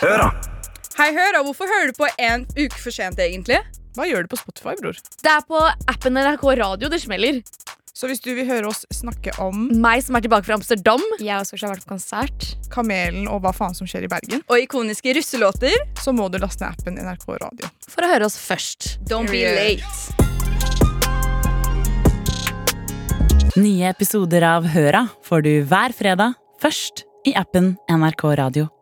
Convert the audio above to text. Hør, da! Hei, hør, og hvorfor hører du på en uke for sent, egentlig? Hva gjør du på Spotify, bror? Det er på appen NRK Radio det smeller. Så hvis du vil høre oss snakke om Meg som er tilbake fra Amsterdam. Jeg også har vært på konsert. Kamelen og hva faen som skjer i Bergen, Og ikoniske russelåter? så må du laste ned appen NRK Radio. For å høre oss først. Don't be late. Nye episoder av Høra får du hver fredag først i appen NRK Radio.